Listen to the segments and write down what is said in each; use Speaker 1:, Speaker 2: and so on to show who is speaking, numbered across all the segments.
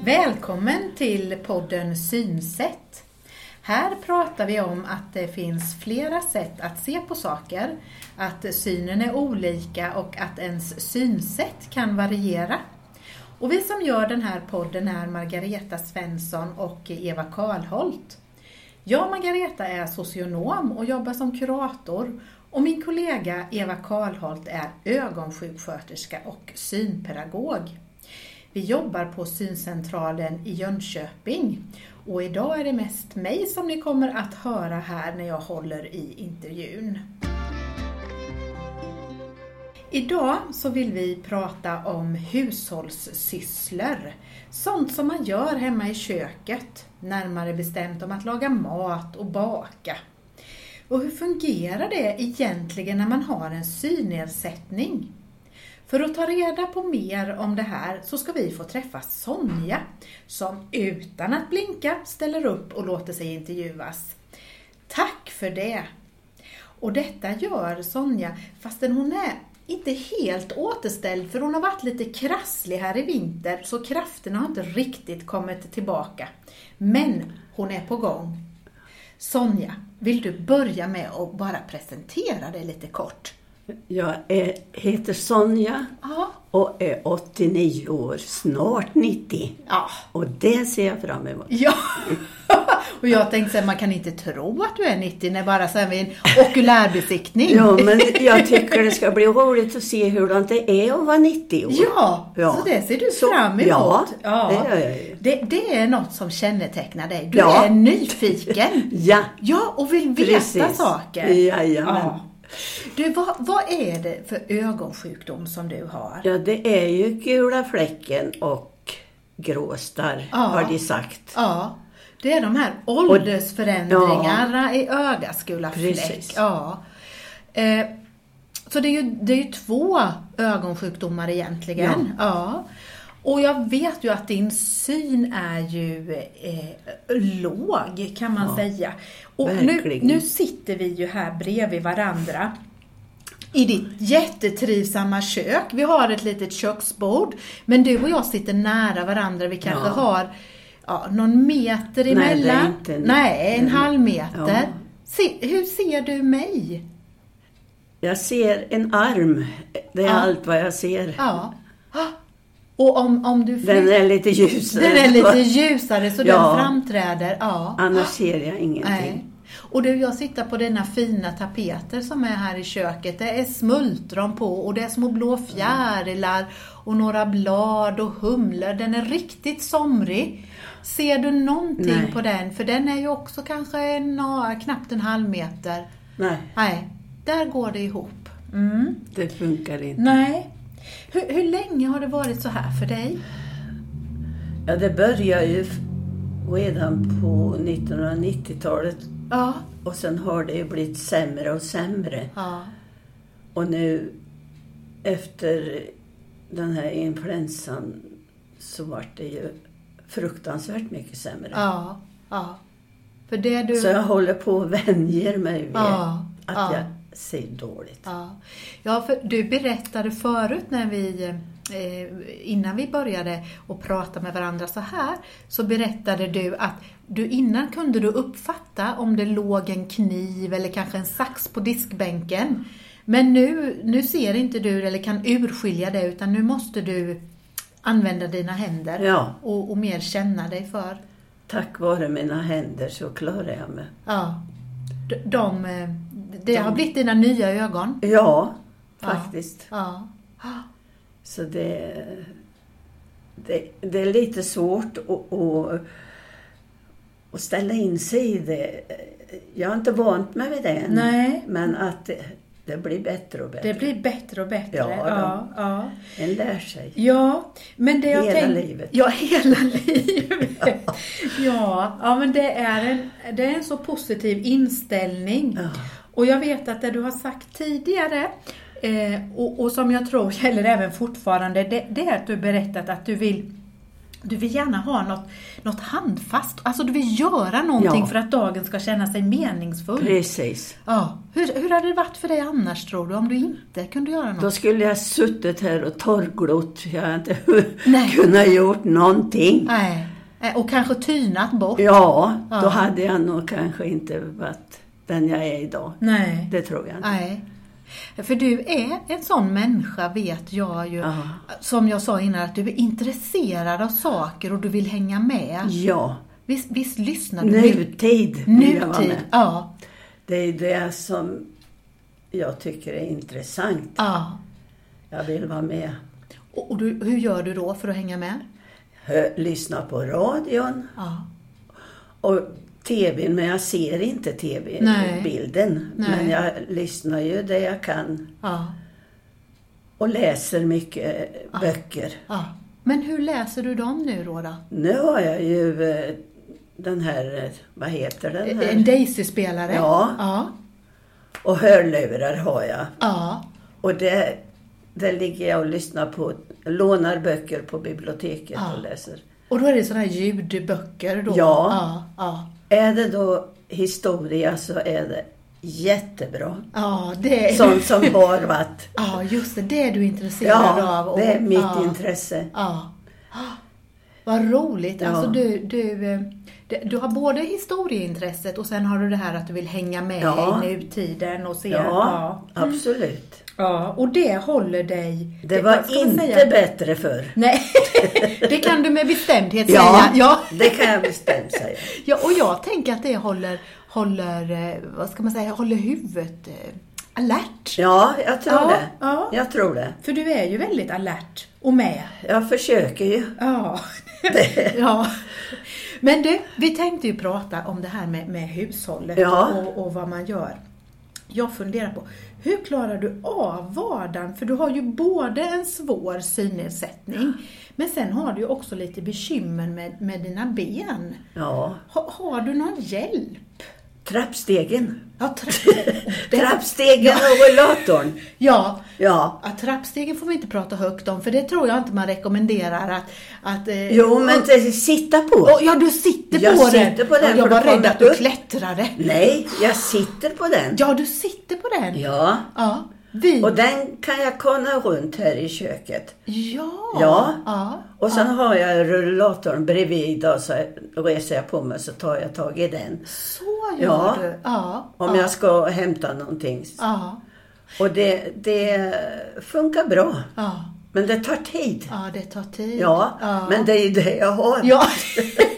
Speaker 1: Välkommen till podden Synsätt. Här pratar vi om att det finns flera sätt att se på saker, att synen är olika och att ens synsätt kan variera. Och vi som gör den här podden är Margareta Svensson och Eva Karlholt. Jag, Margareta, är socionom och jobbar som kurator och min kollega Eva Karlholt är ögonsjuksköterska och synpedagog. Vi jobbar på syncentralen i Jönköping och idag är det mest mig som ni kommer att höra här när jag håller i intervjun. Idag så vill vi prata om hushållssysslor. Sånt som man gör hemma i köket, närmare bestämt om att laga mat och baka. Och hur fungerar det egentligen när man har en synnedsättning? För att ta reda på mer om det här så ska vi få träffa Sonja som utan att blinka ställer upp och låter sig intervjuas. Tack för det! Och detta gör Sonja fastän hon är inte helt återställd för hon har varit lite krasslig här i vinter så krafterna har inte riktigt kommit tillbaka. Men hon är på gång. Sonja, vill du börja med att bara presentera dig lite kort?
Speaker 2: Jag är, heter Sonja
Speaker 1: Ja.
Speaker 2: och är 89 år, snart 90.
Speaker 1: Ja.
Speaker 2: Och det ser jag fram emot.
Speaker 1: Ja, och jag tänkte så här, man kan inte tro att du är 90 när bara så här vid en okulärbesiktning.
Speaker 2: Ja, men jag tycker det ska bli roligt att se hur det är att vara 90 år.
Speaker 1: Ja,
Speaker 2: Ja.
Speaker 1: så det ser du
Speaker 2: Så-
Speaker 1: fram emot.
Speaker 2: ja, det gör jag ju.
Speaker 1: det, det är något som kännetecknar dig. Du
Speaker 2: Ja.
Speaker 1: är nyfiken.
Speaker 2: Ja,
Speaker 1: Ja, och vill veta
Speaker 2: Precis.
Speaker 1: saker.
Speaker 2: Jajamän.
Speaker 1: Du, vad, vad är det för ögonsjukdom som du har?
Speaker 2: ja, det är ju gula fläcken och grå starr,
Speaker 1: Ja.
Speaker 2: har de sagt.
Speaker 1: Ja, det är de här åldersförändringarna i ögats gula fläck.
Speaker 2: Precis.
Speaker 1: Ja. Eh, så det är, ju, det är ju två ögonsjukdomar egentligen. Ja. Och jag vet ju att din syn är ju eh, låg kan man säga. Och nu,
Speaker 2: verkligen.
Speaker 1: nu sitter vi ju här bredvid varandra i ditt jättetrivsamma kök. Vi har ett litet köksbord, men du och jag sitter nära varandra. Vi kanske
Speaker 2: Ja.
Speaker 1: har ja, någon meter
Speaker 2: Nej, det är
Speaker 1: emellan.
Speaker 2: inte en-
Speaker 1: Nej, en halv meter.
Speaker 2: Ja.
Speaker 1: Se, hur ser du mig?
Speaker 2: Jag ser en arm, det är
Speaker 1: Ja.
Speaker 2: allt vad jag ser.
Speaker 1: Ja. Ah, Och om, om du
Speaker 2: Den är lite ljusare.
Speaker 1: den är lite ljusare så
Speaker 2: Ja.
Speaker 1: den framträder. Ja.
Speaker 2: Annars ser jag ingenting.
Speaker 1: Nej. Och du, jag sitter på dina fina tapeter som är här i köket. Det är smultron på och det är små blå fjärilar och några blad och humlor. Den är riktigt somrig. Ser du någonting
Speaker 2: Nej.
Speaker 1: på den? För den är ju också kanske en, ja, knappt en halv meter.
Speaker 2: Nej,
Speaker 1: Nej, där går det ihop. Mm.
Speaker 2: det funkar inte.
Speaker 1: Nej. Hur, hur länge har det varit så här för dig?
Speaker 2: Ja, det började ju f- redan på 1990-talet
Speaker 1: Ja.
Speaker 2: och sen har det ju blivit sämre och sämre.
Speaker 1: Ja.
Speaker 2: Och nu efter den här influensan så vart det ju fruktansvärt mycket sämre.
Speaker 1: Ja. ja. För det du...
Speaker 2: Så jag håller på och vänjer mig vid
Speaker 1: Ja,
Speaker 2: att
Speaker 1: ja.
Speaker 2: jag ser dåligt.
Speaker 1: Ja, ja för du berättade förut när vi eh, innan vi började att prata med varandra så här så berättade du att du innan kunde du uppfatta om det låg en kniv eller kanske en sax på diskbänken. Men nu, nu ser inte du eller kan urskilja det utan nu måste du använda dina händer
Speaker 2: Ja.
Speaker 1: och, och mer känna dig för.
Speaker 2: Tack vare mina händer så klarar jag mig.
Speaker 1: Ja. De, de, eh, det har blivit dina nya ögon.
Speaker 2: Ja,
Speaker 1: Ja.
Speaker 2: faktiskt.
Speaker 1: Ja.
Speaker 2: Så det, det, det är lite svårt att, att, att ställa in sig i det. Jag har inte vant mig vid det än.
Speaker 1: Nej.
Speaker 2: Men att det, det blir bättre och bättre.
Speaker 1: Det blir bättre och bättre.
Speaker 2: Ja, då.
Speaker 1: ja, ja.
Speaker 2: En lär sig.
Speaker 1: ja men det jag
Speaker 2: Hela
Speaker 1: tänk-
Speaker 2: livet.
Speaker 1: Ja, hela livet. ja. ja, men det är, en, det är en så positiv inställning.
Speaker 2: Ja.
Speaker 1: Och jag vet att det du har sagt tidigare eh, och, och som jag tror gäller även fortfarande, det, det är att du berättat att du vill Du vill gärna ha något, något handfast, alltså du vill göra någonting
Speaker 2: Ja.
Speaker 1: för att dagen ska känna sig meningsfull.
Speaker 2: Precis.
Speaker 1: Ja. Hur, hur hade det varit för dig annars tror du, om du inte kunde göra något?
Speaker 2: Då skulle jag suttit här och torrglott. Jag hade inte
Speaker 1: Nej.
Speaker 2: kunnat gjort någonting.
Speaker 1: Nej. Nej, Och kanske tynat bort?
Speaker 2: Ja,
Speaker 1: Ja.
Speaker 2: då hade jag nog kanske inte varit den jag är idag.
Speaker 1: Nej.
Speaker 2: Det tror jag inte.
Speaker 1: Nej. För du är en sån människa, vet jag ju.
Speaker 2: Ja.
Speaker 1: Som jag sa innan, att du är intresserad av saker och du vill hänga med.
Speaker 2: Ja,
Speaker 1: Visst, visst lyssnar du? mycket?
Speaker 2: nutid vill jag vara
Speaker 1: Nutid,
Speaker 2: med.
Speaker 1: ja.
Speaker 2: Det är det som jag tycker är intressant.
Speaker 1: ja.
Speaker 2: Jag vill vara med.
Speaker 1: Och, och du, hur gör du då för att hänga med?
Speaker 2: Hö- Lyssna på radion
Speaker 1: Ja.
Speaker 2: och TVn, men jag ser inte TV,
Speaker 1: Nej.
Speaker 2: bilden.
Speaker 1: Nej.
Speaker 2: Men jag lyssnar ju det jag kan
Speaker 1: ja.
Speaker 2: och läser mycket böcker.
Speaker 1: ja. Men hur läser du dem nu då? då?
Speaker 2: Nu har jag ju eh, den här, eh, vad heter den
Speaker 1: En
Speaker 2: här?
Speaker 1: Daisy-spelare?
Speaker 2: Ja.
Speaker 1: ja.
Speaker 2: Och hörlurar har jag.
Speaker 1: Ja.
Speaker 2: Och det, det ligger jag och lyssnar på, lånar böcker på biblioteket
Speaker 1: Ja.
Speaker 2: och läser.
Speaker 1: Och då är det sådana här ljudböcker då?
Speaker 2: Ja.
Speaker 1: Ja. ja.
Speaker 2: Är det då historia så är det jättebra.
Speaker 1: ja det är...
Speaker 2: Sånt som har varit.
Speaker 1: Ja, just det. Det är du intresserad av.
Speaker 2: Ja,
Speaker 1: och-
Speaker 2: det är mitt
Speaker 1: ja.
Speaker 2: intresse.
Speaker 1: Ja. Ah, Vad roligt!
Speaker 2: Ja.
Speaker 1: Alltså du, du, eh, det- du har både historieintresset och sen har du det här att du vill hänga med
Speaker 2: Ja.
Speaker 1: i nutiden och se.
Speaker 2: Ja,
Speaker 1: Mm.
Speaker 2: absolut.
Speaker 1: ja. Och det håller dig...
Speaker 2: Det
Speaker 1: vad
Speaker 2: var
Speaker 1: ska man
Speaker 2: inte
Speaker 1: säga?
Speaker 2: bättre förr.
Speaker 1: Nej, det kan du med bestämdhet
Speaker 2: Ja,
Speaker 1: säga. Ja.
Speaker 2: det kan jag bestämt säga.
Speaker 1: ja, och jag tänker att det håller, håller, eh, vad ska man säga, håller huvudet eh, alert.
Speaker 2: Ja, jag tror
Speaker 1: Ja,
Speaker 2: det.
Speaker 1: ja.
Speaker 2: Jag tror det.
Speaker 1: För du är ju väldigt alert och med.
Speaker 2: Jag försöker ju.
Speaker 1: Ja. ja. Men du, vi tänkte ju prata om det här med, med hushållet
Speaker 2: Ja.
Speaker 1: och, och vad man gör. Jag funderar på, hur klarar du av vardagen? För du har ju både en svår synnedsättning, men sen har du ju också lite bekymmer med, med dina ben.
Speaker 2: Ja,
Speaker 1: Ha, har du någon hjälp?
Speaker 2: trappstegen.
Speaker 1: Ja, tra-
Speaker 2: Trappstegen och rullatorn.
Speaker 1: ja,
Speaker 2: Ja.
Speaker 1: Ja, trappstegen får vi inte prata högt om, för det tror jag inte man rekommenderar att... att eh,
Speaker 2: Jo, men det- sitta på.
Speaker 1: Åh, ja, du sitter
Speaker 2: Jag
Speaker 1: på den.
Speaker 2: sitter på den,
Speaker 1: Ja, jag var
Speaker 2: för då
Speaker 1: rädd
Speaker 2: kommer
Speaker 1: att du
Speaker 2: upp.
Speaker 1: klättrade.
Speaker 2: Nej, jag sitter på den.
Speaker 1: Ja, du sitter på den.
Speaker 2: Ja.
Speaker 1: Ja. Vi.
Speaker 2: Och den kan jag kana runt här i köket.
Speaker 1: Ja.
Speaker 2: Ja.
Speaker 1: ja.
Speaker 2: Och sen har jag rullatorn bredvid och så reser jag på mig så tar jag tag i den.
Speaker 1: Så gör
Speaker 2: Ja.
Speaker 1: du. Ja.
Speaker 2: Om
Speaker 1: ja.
Speaker 2: jag ska hämta någonting.
Speaker 1: Ja.
Speaker 2: Och det, det funkar bra.
Speaker 1: Ja.
Speaker 2: Men det tar tid.
Speaker 1: ja, det tar tid.
Speaker 2: Ja, men det är ju det jag har.
Speaker 1: Ja.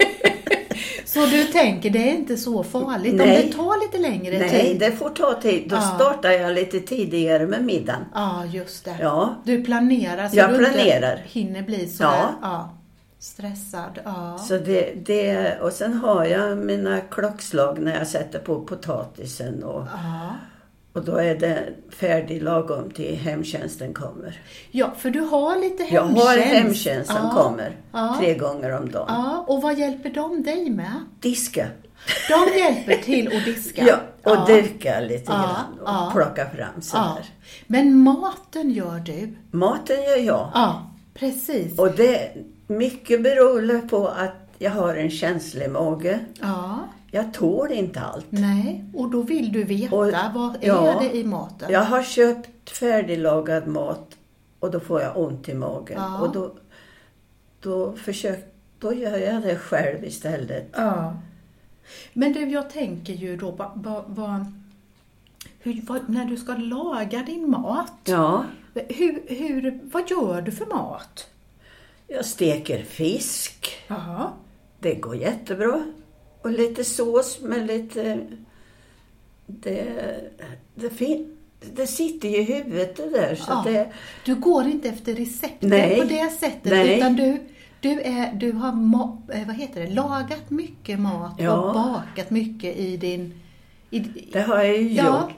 Speaker 1: så du tänker, det är inte så farligt
Speaker 2: Nej.
Speaker 1: om det tar lite längre
Speaker 2: Nej,
Speaker 1: tid?
Speaker 2: det får ta tid. Då
Speaker 1: Ja.
Speaker 2: startar jag lite tidigare med middagen.
Speaker 1: Ja, just det.
Speaker 2: Ja,
Speaker 1: Du planerar så
Speaker 2: Jag
Speaker 1: du
Speaker 2: planerar.
Speaker 1: inte hinner bli så
Speaker 2: Ja.
Speaker 1: här, ja, stressad. Ja.
Speaker 2: så det, det, och sen har jag mina klockslag när jag sätter på potatisen och,
Speaker 1: Ja.
Speaker 2: och då är det färdig lagom till hemtjänsten kommer.
Speaker 1: ja, för du har lite
Speaker 2: Jag
Speaker 1: hemtjänst.
Speaker 2: har hemtjänst som
Speaker 1: ja.
Speaker 2: kommer
Speaker 1: Ja.
Speaker 2: tre gånger om dagen.
Speaker 1: Ja, och vad hjälper de dig med?
Speaker 2: Diska.
Speaker 1: De hjälper till att diska.
Speaker 2: Ja, och dyrka
Speaker 1: Ja,
Speaker 2: lite grann och
Speaker 1: ja.
Speaker 2: plocka fram så
Speaker 1: Ja.
Speaker 2: här.
Speaker 1: Men maten gör du?
Speaker 2: Maten gör jag.
Speaker 1: Ja, precis.
Speaker 2: Och det, mycket beror på att jag har en känslig mage.
Speaker 1: Ja,
Speaker 2: Jag tål inte allt.
Speaker 1: nej, och då vill du veta
Speaker 2: Och-
Speaker 1: vad är
Speaker 2: ja.
Speaker 1: det i maten?
Speaker 2: Jag har köpt färdiglagad mat och då får jag ont i magen.
Speaker 1: Ja.
Speaker 2: Och då, då, försök, då gör jag det själv istället.
Speaker 1: Ja. Men du, jag tänker ju då, va, va, va, hur, vad, när du ska laga din mat,
Speaker 2: Ja.
Speaker 1: hur, hur, vad gör du för mat?
Speaker 2: Jag steker fisk.
Speaker 1: Ja.
Speaker 2: Det går jättebra. Och lite sås med lite... Det, det, fin, det sitter ju i huvudet det där. Så
Speaker 1: Ja.
Speaker 2: det,
Speaker 1: Du går inte efter receptet
Speaker 2: Nej.
Speaker 1: på det sättet,
Speaker 2: Nej.
Speaker 1: utan du, du, är, du har ma, eh, vad heter det, lagat mycket mat och
Speaker 2: Ja.
Speaker 1: bakat mycket i din... I,
Speaker 2: det har jag ju
Speaker 1: Ja.
Speaker 2: gjort.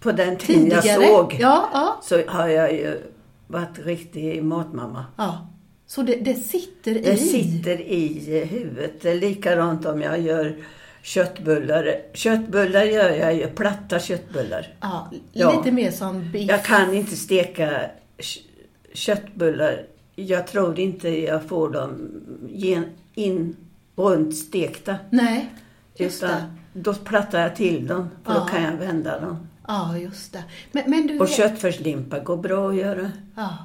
Speaker 2: På den tiden jag såg
Speaker 1: Ja, ja.
Speaker 2: så har jag ju varit riktig matmamma.
Speaker 1: ja. Så det, det sitter i.
Speaker 2: Det sitter i huvudet. Det är likadant om jag gör köttbullar. Köttbullar gör jag ju, platta köttbullar.
Speaker 1: Ja,
Speaker 2: Ja.
Speaker 1: lite mer som biff.
Speaker 2: Jag kan inte steka kö- köttbullar jag tror inte jag får dem gen, in runt stekta.
Speaker 1: Nej, just
Speaker 2: Utan
Speaker 1: det.
Speaker 2: då plattar jag till dem, för
Speaker 1: Ja.
Speaker 2: då kan jag vända dem.
Speaker 1: Ja, just det. Men, men, du,
Speaker 2: Och köttfärslimpa går bra att göra.
Speaker 1: ja.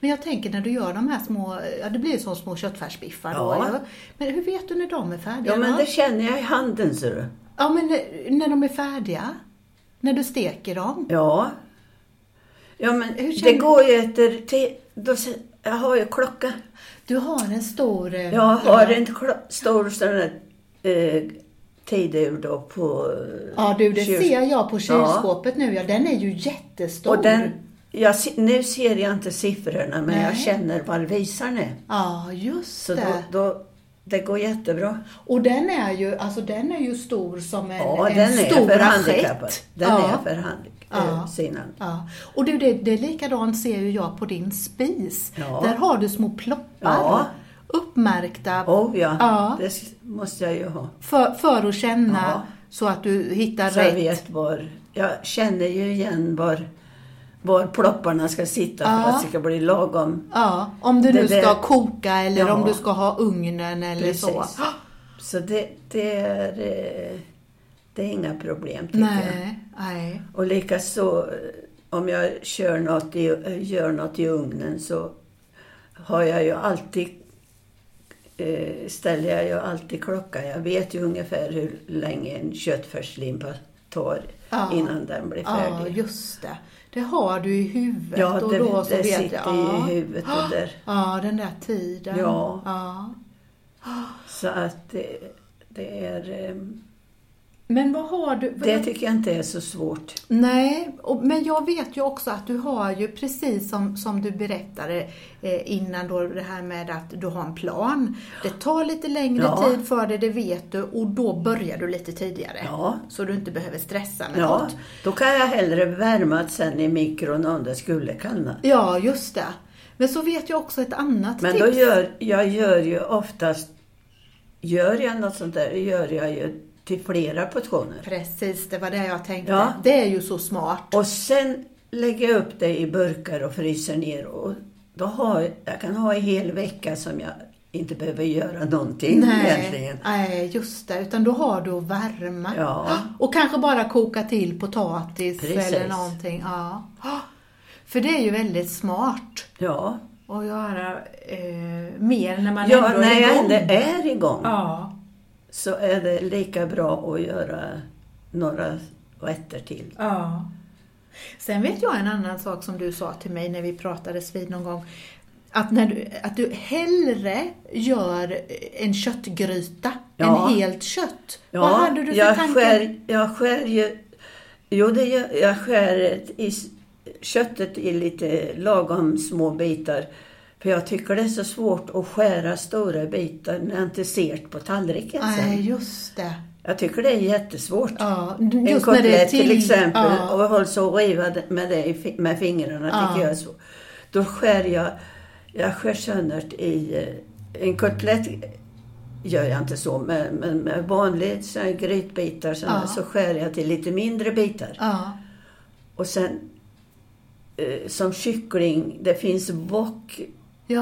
Speaker 1: men jag tänker när du gör de här små, ja det blir ju som små köttfärsbiffar då.
Speaker 2: Ja.
Speaker 1: Ja. Men hur vet du när de är färdiga?
Speaker 2: Ja, men
Speaker 1: då?
Speaker 2: det känner jag i handen, ser du.
Speaker 1: ja, men när- när de är färdiga? När du steker dem?
Speaker 2: Ja. Ja, men
Speaker 1: Hur känner
Speaker 2: det går ju efter... Te, då, se- jag har ju klocka.
Speaker 1: Du har en stor... eh,
Speaker 2: Jag har en klo- stor sån där eh, tidur då på... eh,
Speaker 1: Ja du, det
Speaker 2: kyl-
Speaker 1: ser jag på kylskåpet nu. Ja, den är ju jättestor.
Speaker 2: Och den, jag, se- nu ser jag inte siffrorna, men jag
Speaker 1: Nej.
Speaker 2: känner var visaren är.
Speaker 1: Ja, just
Speaker 2: Så
Speaker 1: det.
Speaker 2: då, då, det går jättebra.
Speaker 1: Och den är ju, alltså den är ju stor som en,
Speaker 2: ja,
Speaker 1: en
Speaker 2: den
Speaker 1: stor
Speaker 2: är för handikappad.
Speaker 1: assiett.
Speaker 2: Den
Speaker 1: ja.
Speaker 2: är eh, för
Speaker 1: Ja.
Speaker 2: handikappad.
Speaker 1: Ja. Och du, det, det är likadant ser ju jag på din spis.
Speaker 2: Ja.
Speaker 1: Där har du små ploppar
Speaker 2: Ja.
Speaker 1: uppmärkta
Speaker 2: Oh ja,
Speaker 1: Ja.
Speaker 2: det s- måste jag ju ha.
Speaker 1: för, för att känna
Speaker 2: Ja.
Speaker 1: så att du hittar
Speaker 2: Så jag
Speaker 1: rätt.
Speaker 2: vet var, jag känner ju igen var, var plopparna ska sitta för
Speaker 1: Ja.
Speaker 2: att det ska bli lagom.
Speaker 1: Ja, om du
Speaker 2: Det
Speaker 1: nu
Speaker 2: där-
Speaker 1: ska koka eller
Speaker 2: Ja.
Speaker 1: om du ska ha ugnen eller så.
Speaker 2: Precis. Så det, det, är, eh, det är inga problem tycker jag.
Speaker 1: Nej, nej.
Speaker 2: Och likaså eh, om jag kör något i, eh, gör något i ugnen så har jag ju alltid eh, ställer jag ju alltid klockan. Jag vet ju ungefär hur länge en köttfärslimpa tar
Speaker 1: Ja.
Speaker 2: innan den blir
Speaker 1: Ja,
Speaker 2: färdig.
Speaker 1: just det. Det har du i huvudet
Speaker 2: Ja,
Speaker 1: och
Speaker 2: det-
Speaker 1: då så
Speaker 2: det
Speaker 1: vet
Speaker 2: sitter
Speaker 1: jag. ja.
Speaker 2: i huvudet och där.
Speaker 1: Ja, den där tiden.
Speaker 2: Ja.
Speaker 1: ja.
Speaker 2: Så att det, det är... eh,
Speaker 1: Men vad har du? vad-
Speaker 2: Det tycker jag inte är så svårt.
Speaker 1: Nej, och, men jag vet ju också att du har ju precis som, som du berättade eh, innan då det här med att du har en plan. Det tar lite längre
Speaker 2: Ja.
Speaker 1: tid för dig, det vet du, och då börjar du lite tidigare.
Speaker 2: Ja.
Speaker 1: Så du inte behöver stressa med
Speaker 2: Ja,
Speaker 1: något.
Speaker 2: då kan jag hellre värma det sen i mikron om det skulle kallna.
Speaker 1: Ja, just det. Men så vet jag också ett annat
Speaker 2: Men
Speaker 1: tips.
Speaker 2: då gör jag gör ju oftast, gör jag något sånt där, gör jag ju till flera portioner.
Speaker 1: Precis, det var det jag tänkte.
Speaker 2: Ja.
Speaker 1: Det är ju så smart.
Speaker 2: Och sen lägger jag upp det i burkar och fryser ner. Och då har, jag- jag kan ha en hel vecka som jag inte behöver göra någonting egentligen.
Speaker 1: nej, just det. Utan då har du att värma.
Speaker 2: Ja.
Speaker 1: Och kanske bara koka till potatis
Speaker 2: Precis.
Speaker 1: eller någonting. Ja. För det är ju väldigt smart
Speaker 2: Ja,
Speaker 1: att göra eh, mer när man
Speaker 2: ja
Speaker 1: ändå
Speaker 2: när
Speaker 1: är
Speaker 2: jag
Speaker 1: igång.
Speaker 2: ändå är igång
Speaker 1: Ja.
Speaker 2: så är det lika bra att göra några rätter till.
Speaker 1: Ja. Sen vet jag en annan sak som du sa till mig när vi pratades vid någon gång. Att, när du, att du hellre gör en köttgryta
Speaker 2: Ja.
Speaker 1: än helt kött.
Speaker 2: Ja,
Speaker 1: Vad hade du för
Speaker 2: jag
Speaker 1: tanke?
Speaker 2: Skär, jag skär ju... Jo, det gör, jag skär ett i, s- köttet i lite lagom små bitar. För jag tycker det är så svårt att skära stora bitar när jag inte ser det på tallriken sen.
Speaker 1: Nej, just det.
Speaker 2: Jag tycker det är jättesvårt.
Speaker 1: Ja,
Speaker 2: en
Speaker 1: just när
Speaker 2: kotlett
Speaker 1: det är
Speaker 2: till, exempel,
Speaker 1: Ja.
Speaker 2: och håll så och riva det- med det i fi- med fingrarna,
Speaker 1: Ja.
Speaker 2: tycker jag är så. Då skär jag, jag skär sönder det i, eh, en kotlett gör jag inte så, men, men med vanliga såna här grytbitar så,
Speaker 1: Ja.
Speaker 2: så skär jag till lite mindre bitar.
Speaker 1: ja.
Speaker 2: Och sen eh, som kyckling, det finns
Speaker 1: Ja.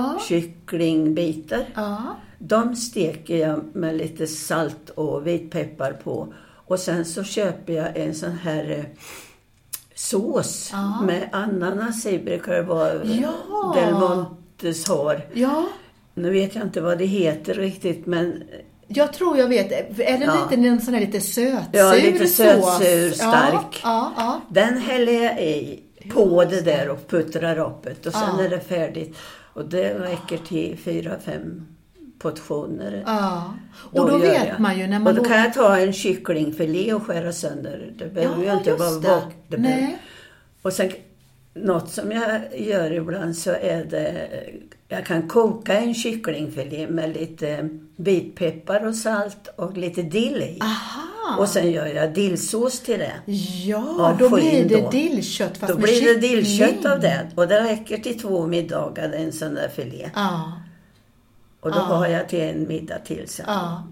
Speaker 2: bockkycklingbitar.
Speaker 1: Ja.
Speaker 2: De steker jag med lite salt och vitpeppar på. Och sen så köper jag en sån här eh, sås
Speaker 1: Ja.
Speaker 2: med ananas i, brukar det vara.
Speaker 1: Ja.
Speaker 2: Del Montes har.
Speaker 1: ja.
Speaker 2: Nu vet jag inte vad det heter riktigt, men
Speaker 1: Jag tror jag vet. Är det
Speaker 2: Ja.
Speaker 1: lite en sån här lite sötsur
Speaker 2: Ja, lite sötsur,
Speaker 1: sås?
Speaker 2: stark.
Speaker 1: Ja, ja,
Speaker 2: den häller jag i på det där och puttrar upp det. Och sen
Speaker 1: Ja.
Speaker 2: är det färdigt. Och det räcker till fyra, fem portioner.
Speaker 1: ja. ja. Och då
Speaker 2: gör
Speaker 1: vet
Speaker 2: jag.
Speaker 1: man ju när man
Speaker 2: Och då kan jag ta en kycklingfilé och skära sönder. Det behöver ju inte vara
Speaker 1: just det.
Speaker 2: bak. Det behöver-
Speaker 1: Nej.
Speaker 2: Och sen, något som jag gör ibland så är det, jag kan koka en kycklingfilé med lite eh, vitpeppar och salt och lite dill i.
Speaker 1: Aha.
Speaker 2: Och sen gör jag dillsås till det.
Speaker 1: Ja,
Speaker 2: Ja,
Speaker 1: då
Speaker 2: få
Speaker 1: blir
Speaker 2: in
Speaker 1: det
Speaker 2: då.
Speaker 1: dillkött fast
Speaker 2: Då
Speaker 1: med
Speaker 2: blir det
Speaker 1: kyckling.
Speaker 2: dillkött av det och det räcker till två middagar, en sån där filé.
Speaker 1: Ja,
Speaker 2: Och då har jag till en middag till sen.
Speaker 1: ja.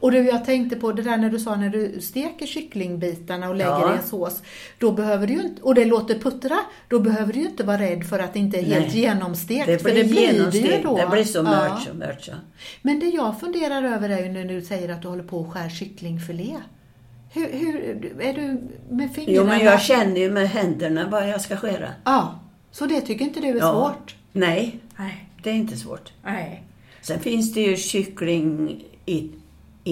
Speaker 1: Och du, jag tänkte på det där när du sa när du steker kycklingbitarna och lägger
Speaker 2: Ja.
Speaker 1: i en sås. Då behöver du ju inte, och det låter puttra, då behöver du ju inte vara rädd för att det inte är helt
Speaker 2: Nej.
Speaker 1: genomstekt.
Speaker 2: Det
Speaker 1: för
Speaker 2: blir,
Speaker 1: det blir det ju
Speaker 2: genomstekt.
Speaker 1: då.
Speaker 2: Det blir så
Speaker 1: Ja.
Speaker 2: mört så mört så.
Speaker 1: Men det jag funderar över är ju när du säger att du håller på och skär kycklingfilé. Hur, hur är du med fingrarna?
Speaker 2: Jo, men jag känner ju med händerna vad jag ska skära.
Speaker 1: Ja, så det tycker inte du är svårt?
Speaker 2: Nej,
Speaker 1: Nej.
Speaker 2: det är inte svårt.
Speaker 1: Nej.
Speaker 2: Sen finns det ju kyckling i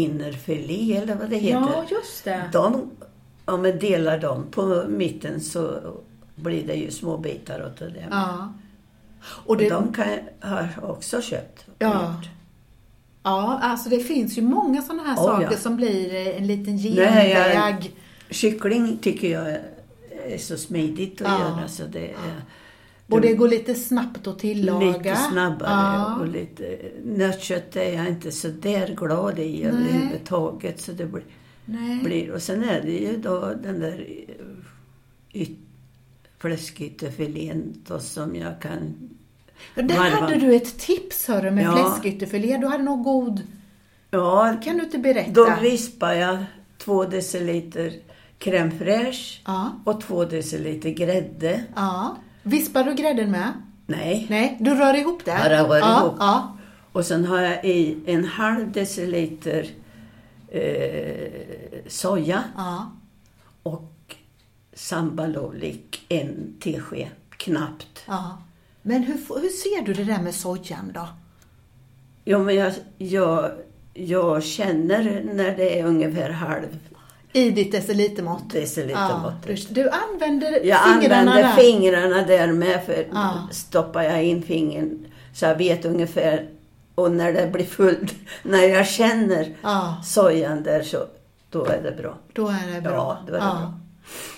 Speaker 2: innerfilé eller vad det
Speaker 1: Ja,
Speaker 2: heter.
Speaker 1: just det.
Speaker 2: De, om man delar dem på mitten så blir det ju små bitar åt det.
Speaker 1: Ja. Och
Speaker 2: Och
Speaker 1: det,
Speaker 2: de kan, jag- har jag också köpt. och
Speaker 1: Ja.
Speaker 2: gjort.
Speaker 1: ja, alltså det finns ju många sådana här
Speaker 2: Oh,
Speaker 1: saker
Speaker 2: ja.
Speaker 1: som blir eh, en liten
Speaker 2: Nej, jag-
Speaker 1: genväg.
Speaker 2: Kyckling tycker jag är så smidigt att
Speaker 1: Ja.
Speaker 2: göra så det är
Speaker 1: Och det går lite snabbt att tillaga.
Speaker 2: lite snabbare.
Speaker 1: Ja.
Speaker 2: Och lite, nötkött är jag inte så där glad i överhuvudtaget. Så det blir,
Speaker 1: Nej.
Speaker 2: blir. Och sen är det ju då den där eh, yt, fläskytterfilén då som jag kan...
Speaker 1: Ja, Där
Speaker 2: varva.
Speaker 1: hade du ett tips hörru med
Speaker 2: Ja.
Speaker 1: fläskytterfilé. Du hade något god...
Speaker 2: Ja,
Speaker 1: Kan du inte berätta?
Speaker 2: Då vispar jag två deciliter crème fraîche
Speaker 1: Ja.
Speaker 2: och två deciliter grädde.
Speaker 1: ja. Vispar du grädden med?
Speaker 2: Nej.
Speaker 1: Nej, du rör ihop det?
Speaker 2: Ja, jag rör
Speaker 1: ja,
Speaker 2: ihop.
Speaker 1: Ja.
Speaker 2: Och sen har jag i en halv deciliter eh, soja
Speaker 1: ja.
Speaker 2: och sambalolik en tesked, knappt.
Speaker 1: Ja. Men hur, hur ser du det där med sojan då?
Speaker 2: Jo, men jag, jag, jag känner när det är ungefär halv
Speaker 1: I ditt decilitermått?
Speaker 2: deciliter
Speaker 1: Ja,
Speaker 2: måttet.
Speaker 1: du, du använder
Speaker 2: Jag
Speaker 1: fingrarna
Speaker 2: använder
Speaker 1: där?
Speaker 2: fingrarna där med, för
Speaker 1: Ja.
Speaker 2: stoppar jag in fingern så jag vet ungefär. Och när det blir fullt, när jag känner
Speaker 1: Ja,
Speaker 2: sojan där så, då är det bra.
Speaker 1: då är det bra.
Speaker 2: Ja, då är det bra.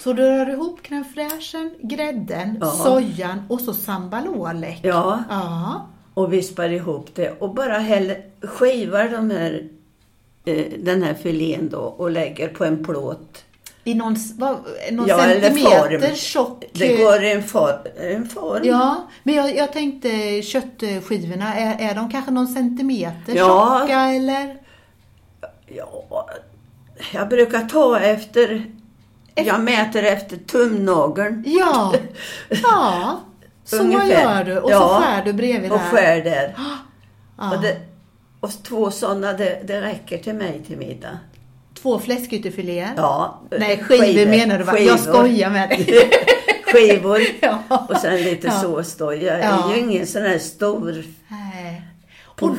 Speaker 1: Så du rör ihop crème fraîchen, grädden,
Speaker 2: Ja.
Speaker 1: sojan och så sambalolek?
Speaker 2: Ja,
Speaker 1: Ja.
Speaker 2: och vispar ihop det och bara häller, skivar de här, eh, den här filén då och lägger på en plåt.
Speaker 1: I någon, s- vad, någon
Speaker 2: Ja, eller
Speaker 1: centimeter
Speaker 2: form.
Speaker 1: tjock... eh,
Speaker 2: Det går i en form. En form.
Speaker 1: Ja, men jag, jag tänkte köttskivorna, är, är de kanske någon centimeter
Speaker 2: Ja.
Speaker 1: tjocka eller?
Speaker 2: Ja, jag brukar ta efter, jag mäter efter tumnageln
Speaker 1: Ja, ja. Så
Speaker 2: Ungefär.
Speaker 1: gör du och så
Speaker 2: Ja.
Speaker 1: skär du bredvid
Speaker 2: och
Speaker 1: där.
Speaker 2: skär där.
Speaker 1: Ja.
Speaker 2: Och, det, och två sådana, det, det räcker till mig till middag.
Speaker 1: Två fläskytterfiléer.
Speaker 2: Ja,
Speaker 1: Nej, skivor, menar du va? Jag skojar med dig.
Speaker 2: Skivor
Speaker 1: Ja.
Speaker 2: och sen lite
Speaker 1: Ja.
Speaker 2: sås då. Jag är
Speaker 1: Ja.
Speaker 2: ju ingen sån här stor
Speaker 1: Nej.
Speaker 2: på,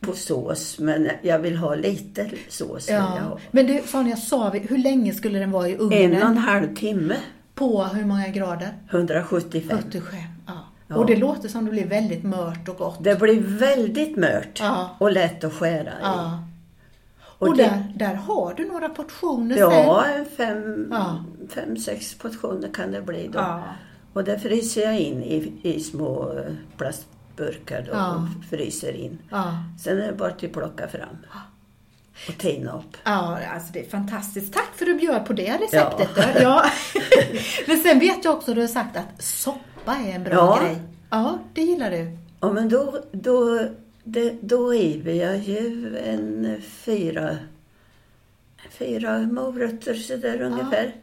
Speaker 2: på sås, men jag vill ha lite sås. vill jag
Speaker 1: Ja.
Speaker 2: ha.
Speaker 1: Men du Sonja, sa vi, hur länge skulle den vara i
Speaker 2: En och
Speaker 1: ugnen?
Speaker 2: en halv timme,
Speaker 1: På hur många grader?
Speaker 2: 175.
Speaker 1: 47. Ja. Och det låter som det blir väldigt mört och gott.
Speaker 2: Det blir väldigt mört
Speaker 1: Ja.
Speaker 2: och lätt att skära i.
Speaker 1: Ja. Och,
Speaker 2: Och det-
Speaker 1: där, där har du några portioner sen.
Speaker 2: Ja, en fem,
Speaker 1: Ja.
Speaker 2: fem, sex portioner kan det bli då.
Speaker 1: Ja.
Speaker 2: Och det fryser jag in i, i små eh, plastburkar då,
Speaker 1: Ja.
Speaker 2: och fryser in.
Speaker 1: Ja.
Speaker 2: Sen är det bara att plocka fram och tina upp.
Speaker 1: Ja, alltså det är fantastiskt. Tack för att du bjöd på det receptet. Ja. Ja. Men sen vet jag också att du har sagt att soppa är en bra
Speaker 2: Ja.
Speaker 1: grej. Ja, det gillar du.
Speaker 2: Ja, men då, då, det, då river jag ju en fyra, fyra morötter sådär ungefär.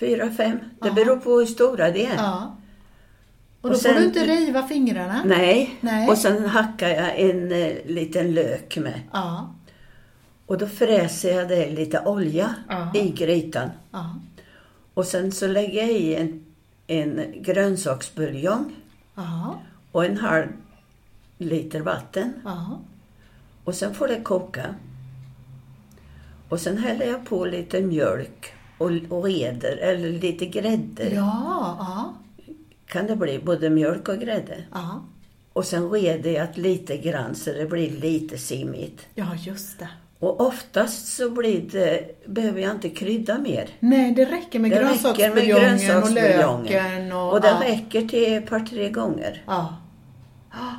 Speaker 2: Fyra, fem. Det beror på hur stora de är.
Speaker 1: Ja. Och
Speaker 2: Och
Speaker 1: då får
Speaker 2: sen-
Speaker 1: du inte riva fingrarna.
Speaker 2: Nej.
Speaker 1: Nej.
Speaker 2: Och sen hackar jag en eh, liten lök med.
Speaker 1: Ja.
Speaker 2: Och då fräser jag det i lite olja
Speaker 1: Ja.
Speaker 2: i grytan.
Speaker 1: Ja.
Speaker 2: Och sen så lägger jag i en, en grönsaksbuljong
Speaker 1: Ja.
Speaker 2: och en halv liter vatten.
Speaker 1: Ja.
Speaker 2: Och sen får det koka. Och sen häller jag på lite mjölk och, och reder, eller lite grädde.
Speaker 1: Ja. Ja.
Speaker 2: Kan det bli både mjölk och grädde.
Speaker 1: Ja.
Speaker 2: Och sen reder jag lite grann så det blir lite simmigt.
Speaker 1: Ja, just det.
Speaker 2: Och oftast så blir det, behöver jag inte krydda mer.
Speaker 1: Nej, det räcker med
Speaker 2: Det räcker med
Speaker 1: grönsaksbuljongen och löken.
Speaker 2: grönsaksbuljongen.
Speaker 1: Och,
Speaker 2: Och det
Speaker 1: ja.
Speaker 2: räcker till ett par, tre gånger.
Speaker 1: Ja. Ja.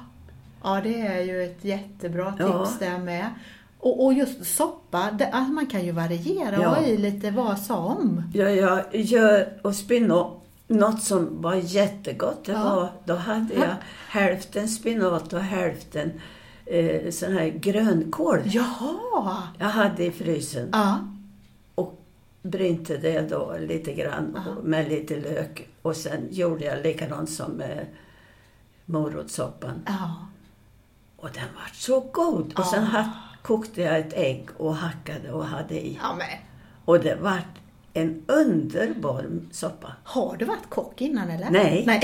Speaker 1: ja, det är ju ett jättebra tips
Speaker 2: Ja.
Speaker 1: det med. Och, och just soppa, det, alltså man kan ju variera och
Speaker 2: Ja.
Speaker 1: ha i lite vad som.
Speaker 2: Ja, jag gör och spinat något som var jättegott. Det
Speaker 1: Ja.
Speaker 2: var, då hade jag hälften spinat och hälften eh, sån här grönkål
Speaker 1: Jaha!
Speaker 2: jag hade i frysen.
Speaker 1: Ja.
Speaker 2: Och brynte det då lite grann och- med lite lök. Och sen gjorde jag likadant som med morotssoppan.
Speaker 1: ja.
Speaker 2: Och den var så god! Och sen hack- kokte jag ett ägg och hackade och hade i.
Speaker 1: Ja men,
Speaker 2: Och det var en underbar soppa.
Speaker 1: har du varit kock innan eller?
Speaker 2: Nej.
Speaker 1: Nej.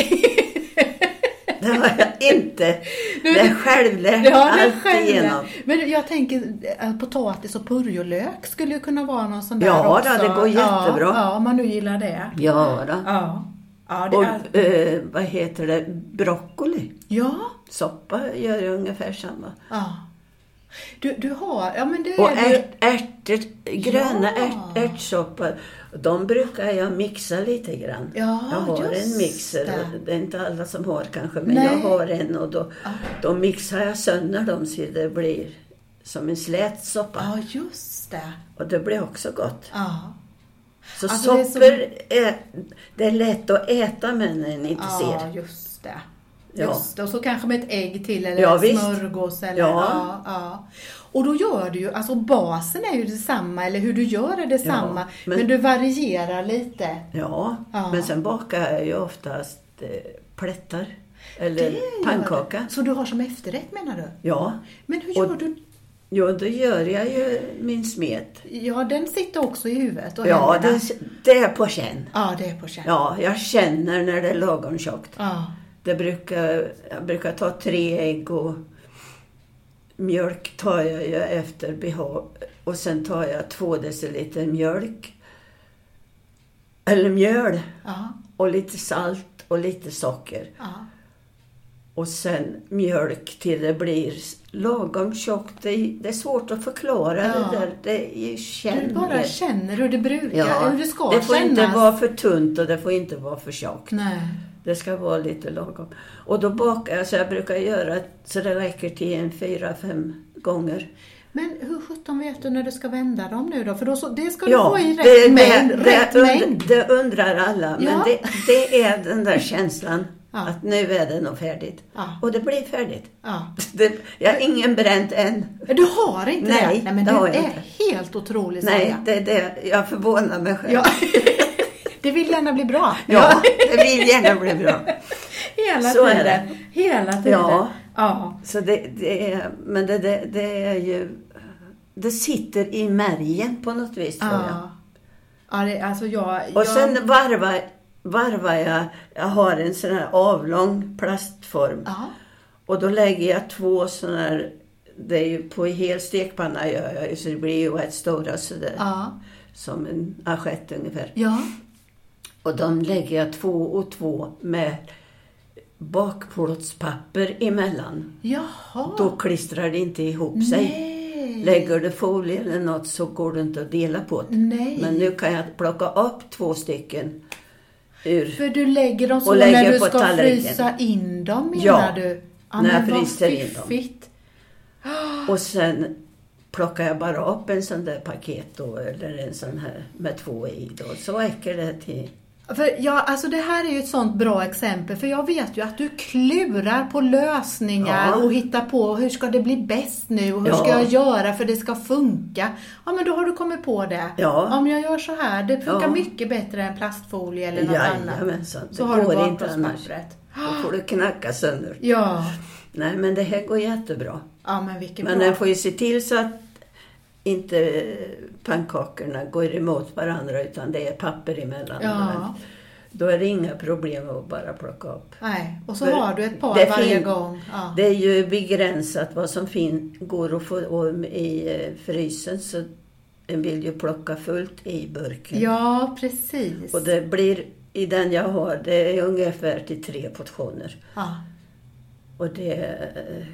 Speaker 2: Det var jag inte.
Speaker 1: Nu-
Speaker 2: Det är självlärt
Speaker 1: Ja, det är
Speaker 2: allt igenom.
Speaker 1: själv. Men jag tänker eh, potatis och purjolök skulle ju kunna vara någon sån där
Speaker 2: Ja,
Speaker 1: också.
Speaker 2: då, det går jättebra.
Speaker 1: Ja, ja, om man nu gillar det.
Speaker 2: Ja, då.
Speaker 1: Ja. Ja, det är,
Speaker 2: Och eh, vad heter det? Broccoli.
Speaker 1: ja.
Speaker 2: Soppa gör jag ungefär samma.
Speaker 1: ja. Du, du har, ja men det
Speaker 2: Och
Speaker 1: är ju...
Speaker 2: ärt, ärtor, gröna
Speaker 1: Ja.
Speaker 2: ärt, ärtsoppor. De brukar jag mixa lite grann.
Speaker 1: Ja,
Speaker 2: jag har
Speaker 1: just
Speaker 2: en mixer.
Speaker 1: det.
Speaker 2: Det. det är inte alla som har kanske, men
Speaker 1: Nej.
Speaker 2: jag har en och då, då mixar jag sönder dem så det blir som en slät soppa.
Speaker 1: Ja, just det.
Speaker 2: Och det blir också gott.
Speaker 1: Ja.
Speaker 2: Så
Speaker 1: Alltså, det är
Speaker 2: soppor, det är, det är lätt att äta men en inte
Speaker 1: Ja,
Speaker 2: ser.
Speaker 1: just det.
Speaker 2: Ja.
Speaker 1: Just det. Och så kanske med ett ägg till eller
Speaker 2: Ja,
Speaker 1: en
Speaker 2: visst.
Speaker 1: smörgås. Eller,
Speaker 2: Ja.
Speaker 1: Ja, ja. Och då gör du ju, alltså basen är ju detsamma, eller hur du gör är detsamma,
Speaker 2: Ja,
Speaker 1: men...
Speaker 2: men-
Speaker 1: du varierar lite.
Speaker 2: Ja,
Speaker 1: Ja.
Speaker 2: men sen bakar jag ju oftast eh, plättar
Speaker 1: Det
Speaker 2: eller
Speaker 1: gör
Speaker 2: pannkaka.
Speaker 1: du. Så du har som efterrätt menar du?
Speaker 2: Ja,
Speaker 1: Men hur
Speaker 2: Och-
Speaker 1: gör du?
Speaker 2: jo, då gör jag ju min smet.
Speaker 1: Ja, den sitter också i huvudet och
Speaker 2: Ja,
Speaker 1: händerna.
Speaker 2: det, det är på känn.
Speaker 1: Ja, det är på känn. Ja.
Speaker 2: Ja, jag känner när det är lagom tjockt. Det brukar, jag brukar ta tre ägg och mjölk tar jag ju efter behag. Och sen tar jag två deciliter mjölk. Eller mjöl.
Speaker 1: Ja.
Speaker 2: Och lite salt och lite socker.
Speaker 1: Ja.
Speaker 2: Och sen mjölk till det blir lagom tjockt. Det är, det är svårt att förklara
Speaker 1: Ja.
Speaker 2: det där. Det är
Speaker 1: Du
Speaker 2: känner.
Speaker 1: bara känner hur det brukar, hur det ska
Speaker 2: det får
Speaker 1: kännas.
Speaker 2: inte vara för tunt och det får inte vara för tjockt.
Speaker 1: Nej.
Speaker 2: Det ska vara lite lagom. Och då bakar jag, så jag brukar göra så det räcker till en fyra, fem gånger.
Speaker 1: Men hur sjutton vet du när du ska vända dem nu då? För då så, det ska du
Speaker 2: Ja,
Speaker 1: få i rätt
Speaker 2: det,
Speaker 1: mängd.
Speaker 2: det,
Speaker 1: rätt
Speaker 2: det, und-
Speaker 1: mängd.
Speaker 2: det undrar alla, men
Speaker 1: Ja.
Speaker 2: det, det är den där känslan
Speaker 1: Ja.
Speaker 2: att nu är det nog färdigt.
Speaker 1: Ja.
Speaker 2: Och det blir färdigt.
Speaker 1: Ja.
Speaker 2: Det, jag har ingen bränt än.
Speaker 1: Du har inte det?
Speaker 2: Nej,
Speaker 1: men
Speaker 2: det
Speaker 1: du
Speaker 2: har jag
Speaker 1: är
Speaker 2: inte.
Speaker 1: helt otrolig
Speaker 2: Nej,
Speaker 1: Sara.
Speaker 2: det, det, jag förvånar mig själv.
Speaker 1: Ja. Det vill gärna bli bra.
Speaker 2: Ja, det vill gärna bli bra.
Speaker 1: Hela
Speaker 2: Så är
Speaker 1: tiden.
Speaker 2: det.
Speaker 1: Hela tiden.
Speaker 2: Ja.
Speaker 1: ja.
Speaker 2: Så det, det är, men det, det, det är ju... Det sitter i märgen på något vis, tror jag.
Speaker 1: ja. ja det, alltså jag,
Speaker 2: Och
Speaker 1: jag,
Speaker 2: sen varvar, varvar jag, jag har en sån här avlång plastform.
Speaker 1: Ja.
Speaker 2: Och då lägger jag två såna här, det är ju på hel stekpanna gör jag ju, så det blir ju rätt stora sådär.
Speaker 1: Ja.
Speaker 2: Som en assiett ungefär.
Speaker 1: Ja.
Speaker 2: Och de lägger jag två och två med bakplåtspapper emellan.
Speaker 1: Jaha.
Speaker 2: Då klistrar det inte ihop sig.
Speaker 1: Nej.
Speaker 2: Lägger du folie eller något så går det inte att dela på det.
Speaker 1: Nej.
Speaker 2: Men nu kan jag plocka upp två stycken ur
Speaker 1: För du lägger dem så
Speaker 2: Och lägger
Speaker 1: när du
Speaker 2: på
Speaker 1: ska
Speaker 2: tallriken.
Speaker 1: frysa in dem menar
Speaker 2: Ja,
Speaker 1: du?
Speaker 2: när jag
Speaker 1: men vad
Speaker 2: fryser in dem.
Speaker 1: fiffigt.
Speaker 2: Och sen plockar jag bara upp en sån där paket då, eller en sån här med två i då. Så räcker det till.
Speaker 1: För ja, alltså det här är ju ett sånt bra exempel, för jag vet ju att du klurar på lösningar
Speaker 2: Ja.
Speaker 1: och hittar på hur ska det bli bäst nu och hur
Speaker 2: Ja.
Speaker 1: ska jag göra för det ska funka. Ja, men då har du kommit på det.
Speaker 2: Ja.
Speaker 1: Om jag gör så här, det funkar
Speaker 2: Ja.
Speaker 1: mycket bättre än plastfolie eller något annat.
Speaker 2: Jajamensan, det
Speaker 1: Så har du
Speaker 2: går inte annars.
Speaker 1: bakplåtspappret.
Speaker 2: Då får du knacka sönder.
Speaker 1: Ja.
Speaker 2: Nej, men det här går jättebra.
Speaker 1: ja, men vilken
Speaker 2: Men
Speaker 1: bra.
Speaker 2: den får ju se till så att inte pannkakorna går emot varandra utan det är papper emellan.
Speaker 1: Ja.
Speaker 2: Då är det inga problem att bara plocka upp.
Speaker 1: Nej. Och så
Speaker 2: För
Speaker 1: har du ett par
Speaker 2: det
Speaker 1: varje
Speaker 2: fin-
Speaker 1: gång. Ja.
Speaker 2: Det är ju begränsat vad som fin går att få om i eh, frysen så en vill ju plocka fullt i burken.
Speaker 1: ja, precis.
Speaker 2: Och det blir, i den jag har, det är ungefär till tre portioner.
Speaker 1: Ja.
Speaker 2: Och det eh,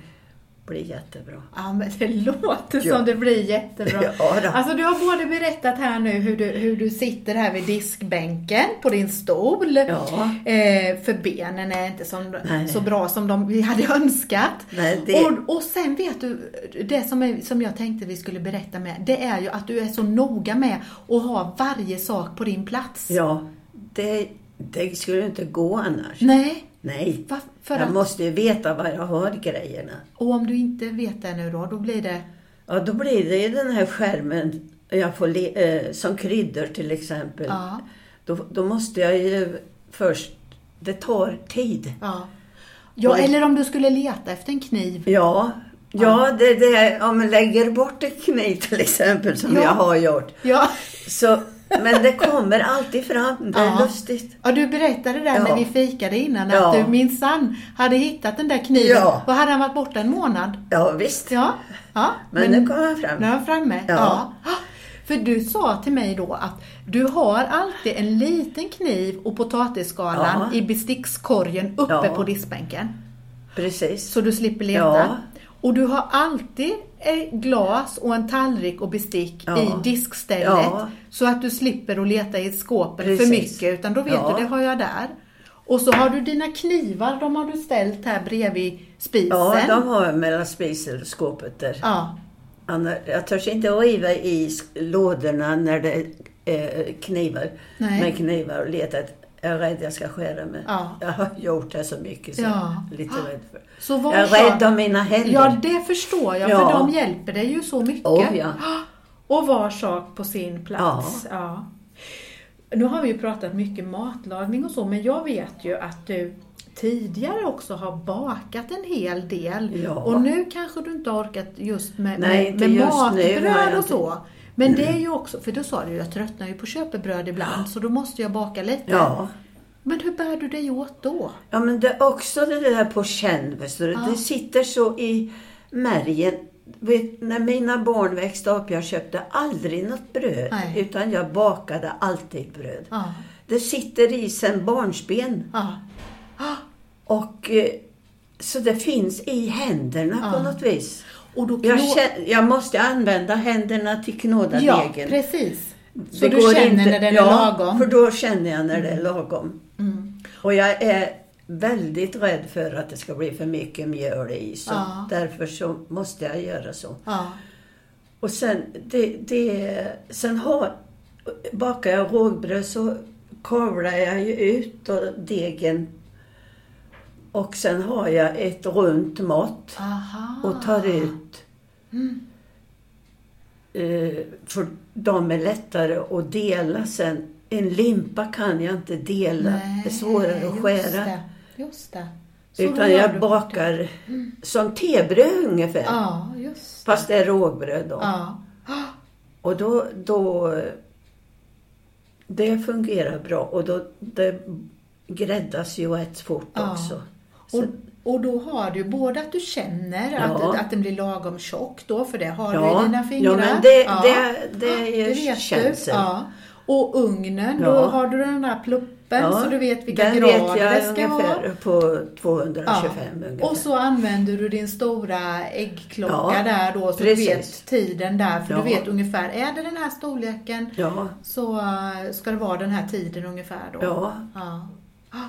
Speaker 2: blir jättebra.
Speaker 1: Ja, men det låter
Speaker 2: Ja.
Speaker 1: som det blir jättebra.
Speaker 2: Ja, då.
Speaker 1: Alltså du har både berättat här nu hur du, hur du sitter här vid diskbänken på din stol.
Speaker 2: Ja.
Speaker 1: Eh, för benen är inte som,
Speaker 2: Nej.
Speaker 1: så bra som de, vi hade önskat.
Speaker 2: Nej, det-
Speaker 1: och, och sen vet du, det som, är, som jag tänkte vi skulle berätta med, det är ju att du är så noga med att ha varje sak på din plats.
Speaker 2: Ja, det, det skulle inte gå annars.
Speaker 1: Nej,
Speaker 2: Nej,
Speaker 1: Va, Mm. för
Speaker 2: jag
Speaker 1: att,
Speaker 2: måste ju veta var jag har grejerna.
Speaker 1: och om du inte vet det nu då, då blir det...
Speaker 2: Ja, då blir det ju den här skärmen jag får le- eh, som kryddor till exempel.
Speaker 1: Ja,
Speaker 2: Då, då måste jag ju först... Det tar tid.
Speaker 1: ja. ja
Speaker 2: Och-
Speaker 1: eller om du skulle leta efter en kniv.
Speaker 2: Ja, ja det, det, om man lägger bort en kniv till exempel som
Speaker 1: Ja.
Speaker 2: jag har gjort.
Speaker 1: Ja.
Speaker 2: Så, men det kommer alltid fram. Det är
Speaker 1: Ja.
Speaker 2: lustigt.
Speaker 1: Ja, du berättade där
Speaker 2: Ja.
Speaker 1: när vi fikade innan
Speaker 2: Ja.
Speaker 1: att du minsann hade hittat den där kniven.
Speaker 2: Ja.
Speaker 1: Och hade han varit borta en månad?
Speaker 2: Ja, visst.
Speaker 1: Ja. ja.
Speaker 2: Men, nu kommer han fram.
Speaker 1: Nu är han framme.
Speaker 2: Ja.
Speaker 1: Ja. Ah! För du sa till mig då att du har alltid en liten kniv och potatisskalan
Speaker 2: Ja.
Speaker 1: i bestickskorgen uppe
Speaker 2: Ja.
Speaker 1: på diskbänken.
Speaker 2: Precis.
Speaker 1: Så du slipper leta.
Speaker 2: Ja.
Speaker 1: Och du har alltid ett glas och en tallrik och bestick
Speaker 2: Ja.
Speaker 1: i diskstället.
Speaker 2: Ja.
Speaker 1: Så att du slipper att leta i skåpet
Speaker 2: Precis.
Speaker 1: för mycket. Utan då vet
Speaker 2: Ja.
Speaker 1: du, det har jag där. Och så har du dina knivar, de har du ställt här bredvid spisen.
Speaker 2: Ja, de har jag mellan spisen och skåpet där.
Speaker 1: ja.
Speaker 2: Anna- Jag törs inte riva i sk- lådorna när det är eh, knivar.
Speaker 1: Nej.
Speaker 2: Med knivar och leta. Jag är rädd jag ska skära mig.
Speaker 1: Ja.
Speaker 2: Jag har gjort det så mycket så
Speaker 1: Ja.
Speaker 2: jag är lite rädd för
Speaker 1: Så
Speaker 2: Jag är
Speaker 1: varför?
Speaker 2: rädd om mina händer.
Speaker 1: Ja, det förstår jag,
Speaker 2: Ja.
Speaker 1: för de hjälper dig ju så mycket.
Speaker 2: Oh, ja.
Speaker 1: Och var sak på sin plats. Ja. Nu har vi ju pratat mycket matlagning och så, men jag vet ju att du tidigare också har bakat en hel del.
Speaker 2: Ja.
Speaker 1: Och nu kanske du inte har orkat just med,
Speaker 2: Nej,
Speaker 1: med,
Speaker 2: inte
Speaker 1: med
Speaker 2: just nu har jag
Speaker 1: matbröd och
Speaker 2: inte. Mm.
Speaker 1: så. Men det är ju också, för då sa du ju, jag tröttnar ju på köpebröd ibland, så då måste jag baka lite.
Speaker 2: Ja.
Speaker 1: Men hur bär du dig åt då?
Speaker 2: ja, men det är också det där på känn. förstår du. Det sitter så i märgen. Vet, när mina barn växte upp, jag köpte aldrig något bröd.
Speaker 1: Nej.
Speaker 2: Utan jag bakade alltid bröd.
Speaker 1: Ja.
Speaker 2: Det sitter i sen barnsben.
Speaker 1: Ja.
Speaker 2: Och eh, så det finns i händerna på något vis.
Speaker 1: Och då
Speaker 2: Jag,
Speaker 1: knå-
Speaker 2: känner, jag måste använda händerna till knåda
Speaker 1: Ja,
Speaker 2: degen.
Speaker 1: precis. Så
Speaker 2: Det
Speaker 1: du
Speaker 2: går
Speaker 1: känner
Speaker 2: inte-
Speaker 1: när den
Speaker 2: ja,
Speaker 1: är lagom? Mm.
Speaker 2: för då känner jag när det är lagom. Och jag är väldigt rädd för att det ska bli för mycket mjöl i. Så
Speaker 1: Ja.
Speaker 2: Därför så måste jag göra så.
Speaker 1: Ja.
Speaker 2: Och sen, det, det, sen har, bakar jag rågbröd så kavlar jag ju ut då degen. Och sen har jag ett runt mått
Speaker 1: Aha.
Speaker 2: och tar
Speaker 1: Ah.
Speaker 2: ut.
Speaker 1: Mm.
Speaker 2: Eh, för de är lättare att dela sen. En limpa kan jag inte dela. det är svårare att
Speaker 1: just
Speaker 2: skära.
Speaker 1: det, Just det. Så då
Speaker 2: Utan
Speaker 1: gör
Speaker 2: jag
Speaker 1: du- Mm.
Speaker 2: bakar som tebröd ungefär.
Speaker 1: Ja, just det.
Speaker 2: Fast det är rågbröd då.
Speaker 1: Ja.
Speaker 2: Och då, då... Det fungerar bra och då, det gräddas ju rätt fort
Speaker 1: Ja.
Speaker 2: också.
Speaker 1: Och, och då har du både att du känner att,
Speaker 2: Ja.
Speaker 1: att den blir lagom tjock då, för det har du
Speaker 2: Ja.
Speaker 1: i dina fingrar.
Speaker 2: Ja, men det- det- det är ju
Speaker 1: vet du.
Speaker 2: känsel.
Speaker 1: Ja. Och ugnen, då
Speaker 2: Ja.
Speaker 1: har du den där pluppen
Speaker 2: Ja,
Speaker 1: så du vet vilka
Speaker 2: den
Speaker 1: grader
Speaker 2: vet jag
Speaker 1: det ska
Speaker 2: ungefär
Speaker 1: ha.
Speaker 2: på 225
Speaker 1: Ja.
Speaker 2: ungefär.
Speaker 1: Och så använder du din stora äggklocka
Speaker 2: Ja,
Speaker 1: där då, så
Speaker 2: precis.
Speaker 1: du vet tiden där. För
Speaker 2: Ja.
Speaker 1: du vet ungefär, är det den här storleken
Speaker 2: Ja,
Speaker 1: så eh, ska det vara den här tiden ungefär då.
Speaker 2: ja,
Speaker 1: Ja. Ah.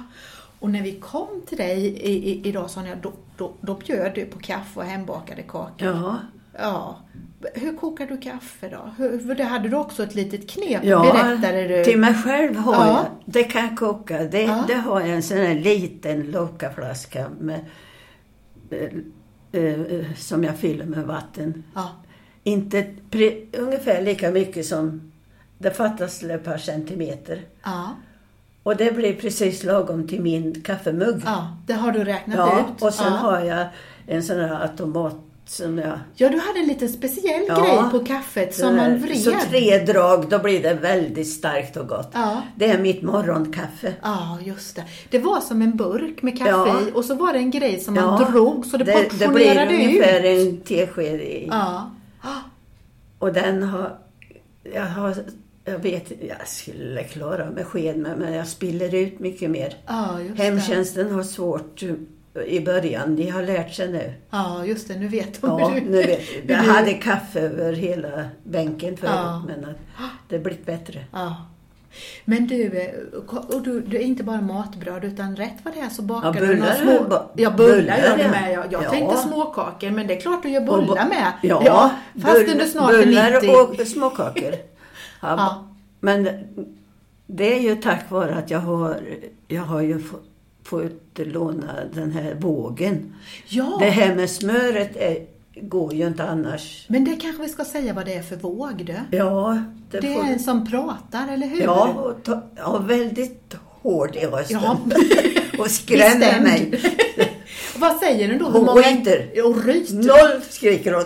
Speaker 1: Och när vi kom till dig i, i, idag Sonja, då, då, då bjöd du på kaffe och hembakade kakor.
Speaker 2: ja.
Speaker 1: Ja. Hur kokar du kaffe då? Hur, för det hade du också ett litet knep,
Speaker 2: ja.
Speaker 1: berättade du.
Speaker 2: Till mig själv har
Speaker 1: Ja.
Speaker 2: jag. Det kan jag koka. Det,
Speaker 1: Ja.
Speaker 2: det har jag en sån här liten lockaflaska med, eh, eh, som jag fyller med vatten.
Speaker 1: Ja.
Speaker 2: Inte pre, ungefär lika mycket som... Det fattas ett par centimeter.
Speaker 1: Ja.
Speaker 2: Och det blir precis lagom till min kaffemugg.
Speaker 1: ja, det har du räknat
Speaker 2: Ja,
Speaker 1: ut.
Speaker 2: och sen
Speaker 1: ja.
Speaker 2: har jag en sån här automat som jag...
Speaker 1: Ja, du hade en liten speciell
Speaker 2: Ja.
Speaker 1: grej på kaffet som
Speaker 2: den här-
Speaker 1: man vred.
Speaker 2: Eh, Så tre drag, då blir det väldigt starkt och gott.
Speaker 1: Ja.
Speaker 2: Det är mitt morgonkaffe.
Speaker 1: Ja, just det. Det var som en burk med kaffe
Speaker 2: Ja.
Speaker 1: i och så var det en grej som man drog så det,
Speaker 2: det, det blir
Speaker 1: portionerade ut.
Speaker 2: ungefär en tesked i.
Speaker 1: Ja. Ah,
Speaker 2: Och den har... Jag har... Jag vet, jag skulle klara med sked med, men jag spiller ut mycket mer.
Speaker 1: Ja, just det.
Speaker 2: Hemtjänsten har svårt eh, i början. De har lärt sig nu.
Speaker 1: Ja, just det. Nu vet de
Speaker 2: Ja,
Speaker 1: hur du...
Speaker 2: nu vet
Speaker 1: hur
Speaker 2: jag.
Speaker 1: du-
Speaker 2: hade kaffe över hela bänken förut,
Speaker 1: Ja.
Speaker 2: men att det har blivit bättre.
Speaker 1: Ja. Men du, eh, ko- och du, du är inte bara matbröd utan rätt vad det är så bakar
Speaker 2: Ja,
Speaker 1: du några
Speaker 2: bullar
Speaker 1: små...
Speaker 2: är ba-
Speaker 1: ja, bullar
Speaker 2: bullar
Speaker 1: gör du
Speaker 2: är-
Speaker 1: med. Jag, jag
Speaker 2: ja.
Speaker 1: tänkte småkakor, men det är klart du gör
Speaker 2: Och
Speaker 1: bullar
Speaker 2: bu-
Speaker 1: med.
Speaker 2: Ja,
Speaker 1: fastän
Speaker 2: bull-
Speaker 1: du snart
Speaker 2: bullar
Speaker 1: är 90.
Speaker 2: och småkakor. Ja,
Speaker 1: Ja.
Speaker 2: Men det är ju tack vare att jag har, jag har ju få- få utlåna den här vågen.
Speaker 1: Ja,
Speaker 2: Det här med smöret är, går ju inte annars.
Speaker 1: men det kanske vi ska säga vad det är för våg du.
Speaker 2: Ja, det,
Speaker 1: Det
Speaker 2: får
Speaker 1: är en som pratar, eller hur?
Speaker 2: Ja, och ta, ja, väldigt hård i rösten.
Speaker 1: Ja.
Speaker 2: och skrämmer
Speaker 1: Bestämd.
Speaker 2: mig.
Speaker 1: Vad säger den då?
Speaker 2: Och ryter.
Speaker 1: Och ryter.
Speaker 2: Noll skriker hon.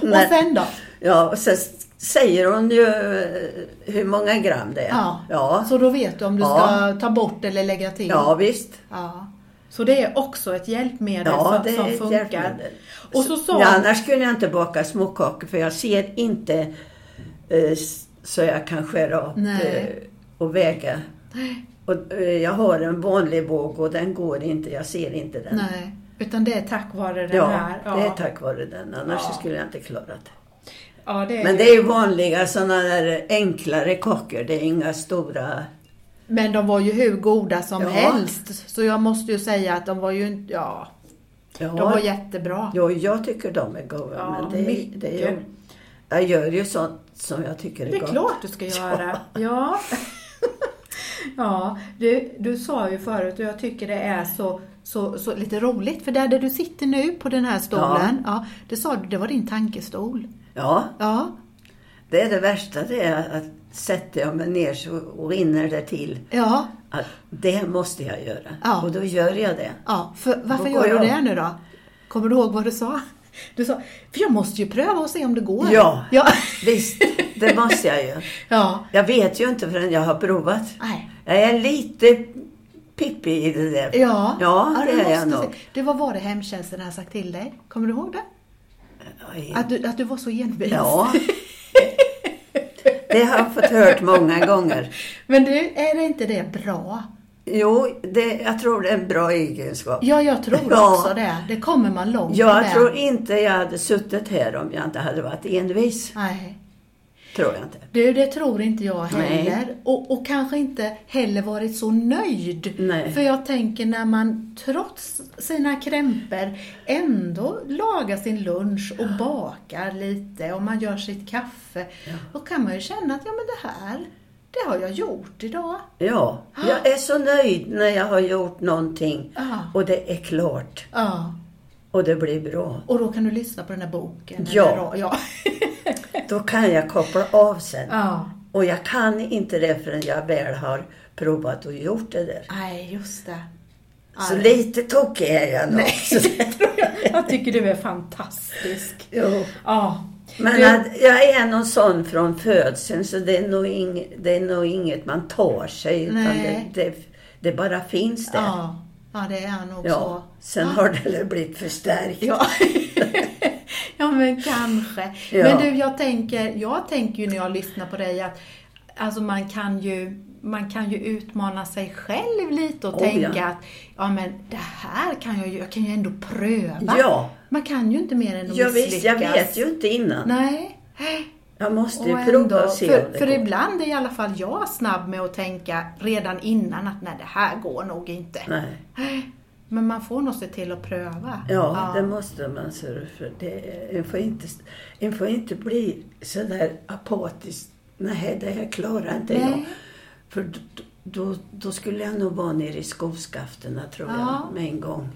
Speaker 1: Och sen då?
Speaker 2: Ja, och sen s- säger hon ju eh, hur många gram det är.
Speaker 1: Ja.
Speaker 2: ja.
Speaker 1: Så då vet du om du
Speaker 2: Ja.
Speaker 1: ska ta bort eller lägga till?
Speaker 2: Ja, visst.
Speaker 1: Ja. Så det är också ett hjälpmedel
Speaker 2: Ja,
Speaker 1: som,
Speaker 2: det
Speaker 1: som
Speaker 2: är ett
Speaker 1: funkar.
Speaker 2: hjälpmedel.
Speaker 1: Och så sa
Speaker 2: ja, annars kunde jag inte baka småkakor för jag ser inte eh, s- så jag kan skära upp
Speaker 1: Nej.
Speaker 2: eh, och väga. Och, eh, jag har en vanlig våg och den går inte, jag ser inte den.
Speaker 1: Nej, utan det är tack vare den
Speaker 2: ja,
Speaker 1: här.
Speaker 2: det är tack vare den. Annars så skulle jag inte klara det.
Speaker 1: Ja, det är...
Speaker 2: Men
Speaker 1: men,
Speaker 2: det är ju vanliga sådana där enklare kakor. Det är inga stora...
Speaker 1: de var ju hur goda som
Speaker 2: Ja.
Speaker 1: helst. Så jag måste ju säga att de var ju inte- ja,
Speaker 2: Ja,
Speaker 1: de var jättebra.
Speaker 2: Jo, jag tycker de är goda.
Speaker 1: Ja,
Speaker 2: men det, är-
Speaker 1: mycket.
Speaker 2: det är ju, jag gör ju sånt som jag tycker är,
Speaker 1: Det är
Speaker 2: gott.
Speaker 1: klart du ska göra. Ja. Ja, du, du sa ju förut och jag tycker det är så, så, så lite roligt för där, där du sitter nu på den här stolen, ja. det sa du, det var din tankestol.
Speaker 2: Ja,
Speaker 1: Ja,
Speaker 2: det är det värsta det är att sätter jag mig ner så rinner det till.
Speaker 1: ja,
Speaker 2: Att det måste jag göra.
Speaker 1: Ja.
Speaker 2: Och då gör jag det.
Speaker 1: ja. För, varför
Speaker 2: Då
Speaker 1: gör
Speaker 2: går
Speaker 1: du
Speaker 2: jag.
Speaker 1: det nu då? Kommer du ihåg vad du sa? Du sa, för jag måste ju pröva och se om det går.
Speaker 2: Ja.
Speaker 1: Ja.
Speaker 2: Visst, det måste jag ju.
Speaker 1: ja.
Speaker 2: Jag vet ju inte förrän jag har provat.
Speaker 1: Nej.
Speaker 2: Jag är lite pippig i det där.
Speaker 1: Ja,
Speaker 2: ja det
Speaker 1: du
Speaker 2: är jag
Speaker 1: måste
Speaker 2: nog.
Speaker 1: se. Du, vad var det hemtjänsten hade sagt till dig? Kommer du ihåg det?
Speaker 2: Oj.
Speaker 1: Att du, att du var så envis.
Speaker 2: Ja. Det har jag fått hört många gånger.
Speaker 1: Men du, är det inte det bra?
Speaker 2: Jo, det, jag tror det är en bra egenskap.
Speaker 1: Ja, jag tror
Speaker 2: Ja.
Speaker 1: också det. Det kommer man långt
Speaker 2: Jag
Speaker 1: med.
Speaker 2: tror inte jag hade suttit här om jag inte hade varit envis.
Speaker 1: Nej.
Speaker 2: Tror jag inte.
Speaker 1: Du, det tror inte jag
Speaker 2: Nej.
Speaker 1: heller. Och, och kanske inte heller varit så nöjd.
Speaker 2: Nej.
Speaker 1: För jag tänker när man trots sina krämpor ändå lagar sin lunch och bakar lite och man gör sitt kaffe. Då kan man ju känna att ja, men det här, det har jag gjort idag.
Speaker 2: Ja, jag är så nöjd när jag har gjort någonting
Speaker 1: Ja.
Speaker 2: och det är klart
Speaker 1: Ja.
Speaker 2: och det blir bra.
Speaker 1: Och då kan du lyssna på den här boken.
Speaker 2: Ja.
Speaker 1: Eller, ja.
Speaker 2: Då kan jag koppla av sen.
Speaker 1: ja.
Speaker 2: Och jag kan inte det förrän jag väl har provat och gjort det där.
Speaker 1: Nej, just det.
Speaker 2: Så
Speaker 1: Ja.
Speaker 2: lite tokig är jag nog. Så-
Speaker 1: Jag tycker du är fantastisk.
Speaker 2: Jo.
Speaker 1: Ja.
Speaker 2: Men
Speaker 1: Du-
Speaker 2: att jag är någon sån från födseln så det är nog, ing, det är nog inget man tar sig utan det,
Speaker 1: Nej.
Speaker 2: det, det bara finns där.
Speaker 1: Ja, ja det är nog så.
Speaker 2: Ja, sen har det väl blivit förstärkt.
Speaker 1: Ja. ja, men kanske.
Speaker 2: Ja.
Speaker 1: Men du, jag tänker, jag tänker ju när jag lyssnar på dig att alltså man, kan ju, man kan ju utmana sig själv lite och
Speaker 2: Oh,
Speaker 1: tänka
Speaker 2: ja.
Speaker 1: att ja, men det här kan jag ju, jag kan ju ändå pröva.
Speaker 2: Ja.
Speaker 1: Man kan ju inte mer än att
Speaker 2: Jag, visst, jag
Speaker 1: misslyckas.
Speaker 2: vet ju inte innan.
Speaker 1: Nej.
Speaker 2: Jag måste ju
Speaker 1: Och
Speaker 2: prova
Speaker 1: ändå,
Speaker 2: och se om
Speaker 1: för,
Speaker 2: det
Speaker 1: för
Speaker 2: går.
Speaker 1: ibland är i alla fall jag snabb med att tänka redan innan att nej, det här går nog inte.
Speaker 2: Nej.
Speaker 1: Men man får nog se till att pröva.
Speaker 2: Ja, det måste man. så- För det, en, får inte, en får inte bli sådär apatisk. Nej, det här klarar inte
Speaker 1: Nej.
Speaker 2: jag. För d- d- då, då skulle jag nog vara nere i skoskafterna, tror
Speaker 1: Ja.
Speaker 2: jag, med en gång.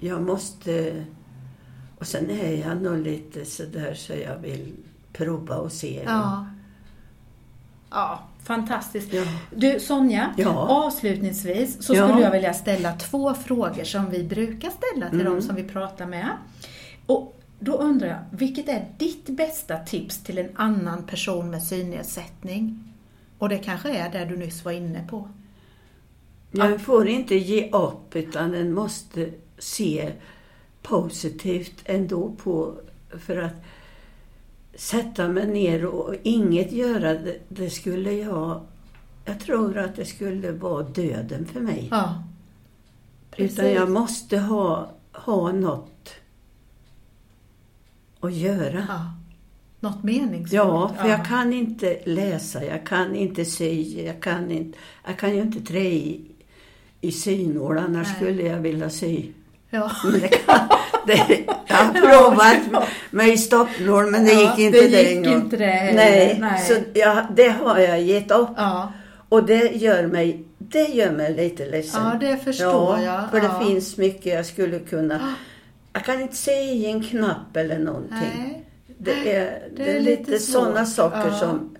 Speaker 2: Jag måste... Och sen är jag nog lite sådär så jag vill prova och se.
Speaker 1: ja. Ja, fantastiskt.
Speaker 2: Ja.
Speaker 1: Du Sonja,
Speaker 2: Ja.
Speaker 1: avslutningsvis så
Speaker 2: Ja.
Speaker 1: skulle jag vilja ställa två frågor som vi brukar ställa till
Speaker 2: Mm.
Speaker 1: de som vi pratar med. Och då undrar jag, vilket är ditt bästa tips till en annan person med synnedsättning? Och det kanske är det du nyss var inne på.
Speaker 2: Man får inte ge upp utan man måste se positivt ändå på för att sätta mig ner och inget göra det, det skulle jag jag tror att det skulle vara döden för mig.
Speaker 1: Ja.
Speaker 2: Utan jag måste ha, ha något att göra.
Speaker 1: ja. Något liksom? meningsfullt.
Speaker 2: Ja, för jag kan inte läsa, jag kan inte sy, jag kan, inte, jag kan ju inte trä i, i synål, annars
Speaker 1: Nej.
Speaker 2: skulle jag vilja sy.
Speaker 1: Ja.
Speaker 2: Men det kan, det, jag har provat med i stoppnål, men det
Speaker 1: Ja,
Speaker 2: gick inte
Speaker 1: det
Speaker 2: det,
Speaker 1: gick
Speaker 2: en gång.
Speaker 1: inte det heller,
Speaker 2: nej,
Speaker 1: nej.
Speaker 2: så jag, det har jag gett upp.
Speaker 1: ja.
Speaker 2: Och det gör mig det gör mig lite ledsen.
Speaker 1: Ja, det förstår jag.
Speaker 2: För
Speaker 1: ja. Ah.
Speaker 2: det finns mycket jag skulle kunna... Jag kan inte säga i en knapp eller någonting.
Speaker 1: Nej.
Speaker 2: Det är,
Speaker 1: Det
Speaker 2: det
Speaker 1: är
Speaker 2: är,
Speaker 1: lite
Speaker 2: lite sådana
Speaker 1: svårt.
Speaker 2: saker
Speaker 1: Ja.
Speaker 2: som...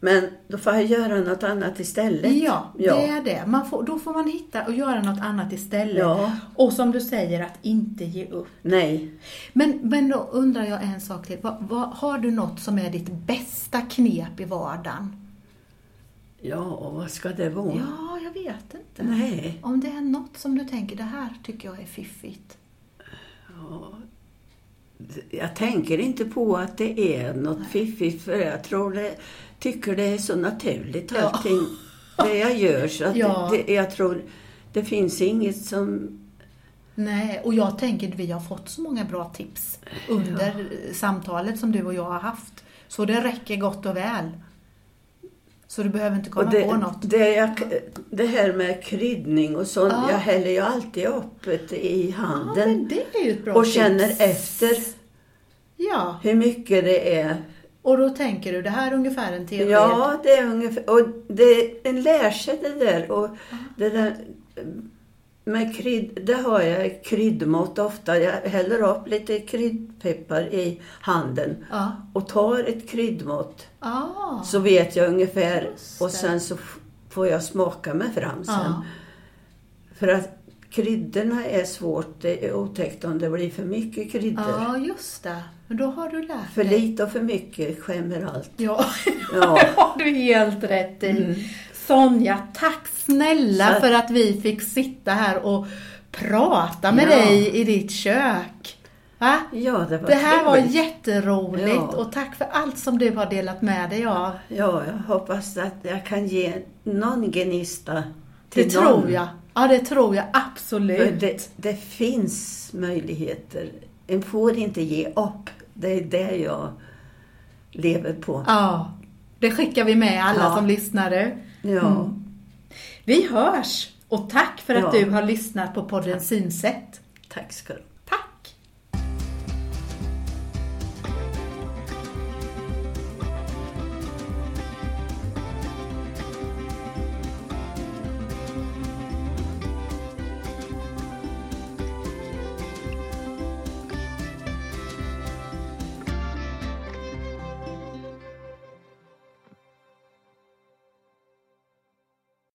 Speaker 2: Men då får jag göra något annat istället.
Speaker 1: Ja,
Speaker 2: ja.
Speaker 1: det är det. Man får, då får man hitta och göra något annat istället.
Speaker 2: Ja.
Speaker 1: Och som du säger, att inte ge upp.
Speaker 2: Nej.
Speaker 1: Men, men då undrar jag en sak till. Vad, vad, har du något som är ditt bästa knep i vardagen?
Speaker 2: Ja, och vad ska det vara?
Speaker 1: Ja, jag vet inte.
Speaker 2: Nej.
Speaker 1: Om det är något som du tänker, det här tycker jag är fiffigt.
Speaker 2: Jag tänker inte på att det är något fiffigt för jag tror det, tycker det är så naturligt
Speaker 1: Ja.
Speaker 2: allting det jag gör. Så att
Speaker 1: Ja.
Speaker 2: det, jag tror det finns inget som...
Speaker 1: Nej, och jag tänker att vi har fått så många bra tips under samtalet som du och jag har haft. Så det räcker gott och väl. Så du behöver inte komma
Speaker 2: och det,
Speaker 1: på något.
Speaker 2: Det, jag, det här med kryddning och sånt,
Speaker 1: Ja.
Speaker 2: jag häller ju alltid upp ett i
Speaker 1: Ja,
Speaker 2: handen.
Speaker 1: men det är ju ett bra
Speaker 2: och
Speaker 1: tips.
Speaker 2: känner efter
Speaker 1: Ja,
Speaker 2: hur mycket det är.
Speaker 1: och då tänker du, det här är ungefär en tesked.
Speaker 2: Ja, det är ungefär... Och det, en lär sig det där. Och det där med krydd, det har jag kryddmått ofta. Jag häller upp lite kryddpeppar i handen
Speaker 1: Ja.
Speaker 2: och tar ett kryddmått.
Speaker 1: Ah.
Speaker 2: Så vet jag ungefär.
Speaker 1: Just det.
Speaker 2: Och sen så f- får jag smaka mig fram sen.
Speaker 1: Ja.
Speaker 2: För att kryddorna är svårt. Det är otäckt om det blir för mycket kryddor.
Speaker 1: ja, just det. Men då har du lärt
Speaker 2: För
Speaker 1: dig.
Speaker 2: lite och för mycket skämmer allt.
Speaker 1: Ja,
Speaker 2: Ja. Mm.
Speaker 1: det har du helt rätt i. Sonja, tack snälla
Speaker 2: Så-
Speaker 1: för att vi fick sitta här och prata med
Speaker 2: Ja.
Speaker 1: dig i ditt kök. Va?
Speaker 2: Ja, det var
Speaker 1: Det här var
Speaker 2: trevligt.
Speaker 1: jätteroligt
Speaker 2: Ja.
Speaker 1: och tack för allt som du har delat med dig av.
Speaker 2: Ja, jag hoppas att jag kan ge någon gnista
Speaker 1: Det
Speaker 2: till någon.
Speaker 1: tror jag. Ja, det tror jag
Speaker 2: För
Speaker 1: absolut.
Speaker 2: det, det finns möjligheter. En får inte ge upp. Det är det jag lever på.
Speaker 1: Ja, det skickar vi med alla
Speaker 2: Ja.
Speaker 1: som lyssnar. du.
Speaker 2: Ja,
Speaker 1: Vi hörs! Och tack för att
Speaker 2: Ja.
Speaker 1: du har lyssnat på podden Synsätt.
Speaker 2: tack ska du ha.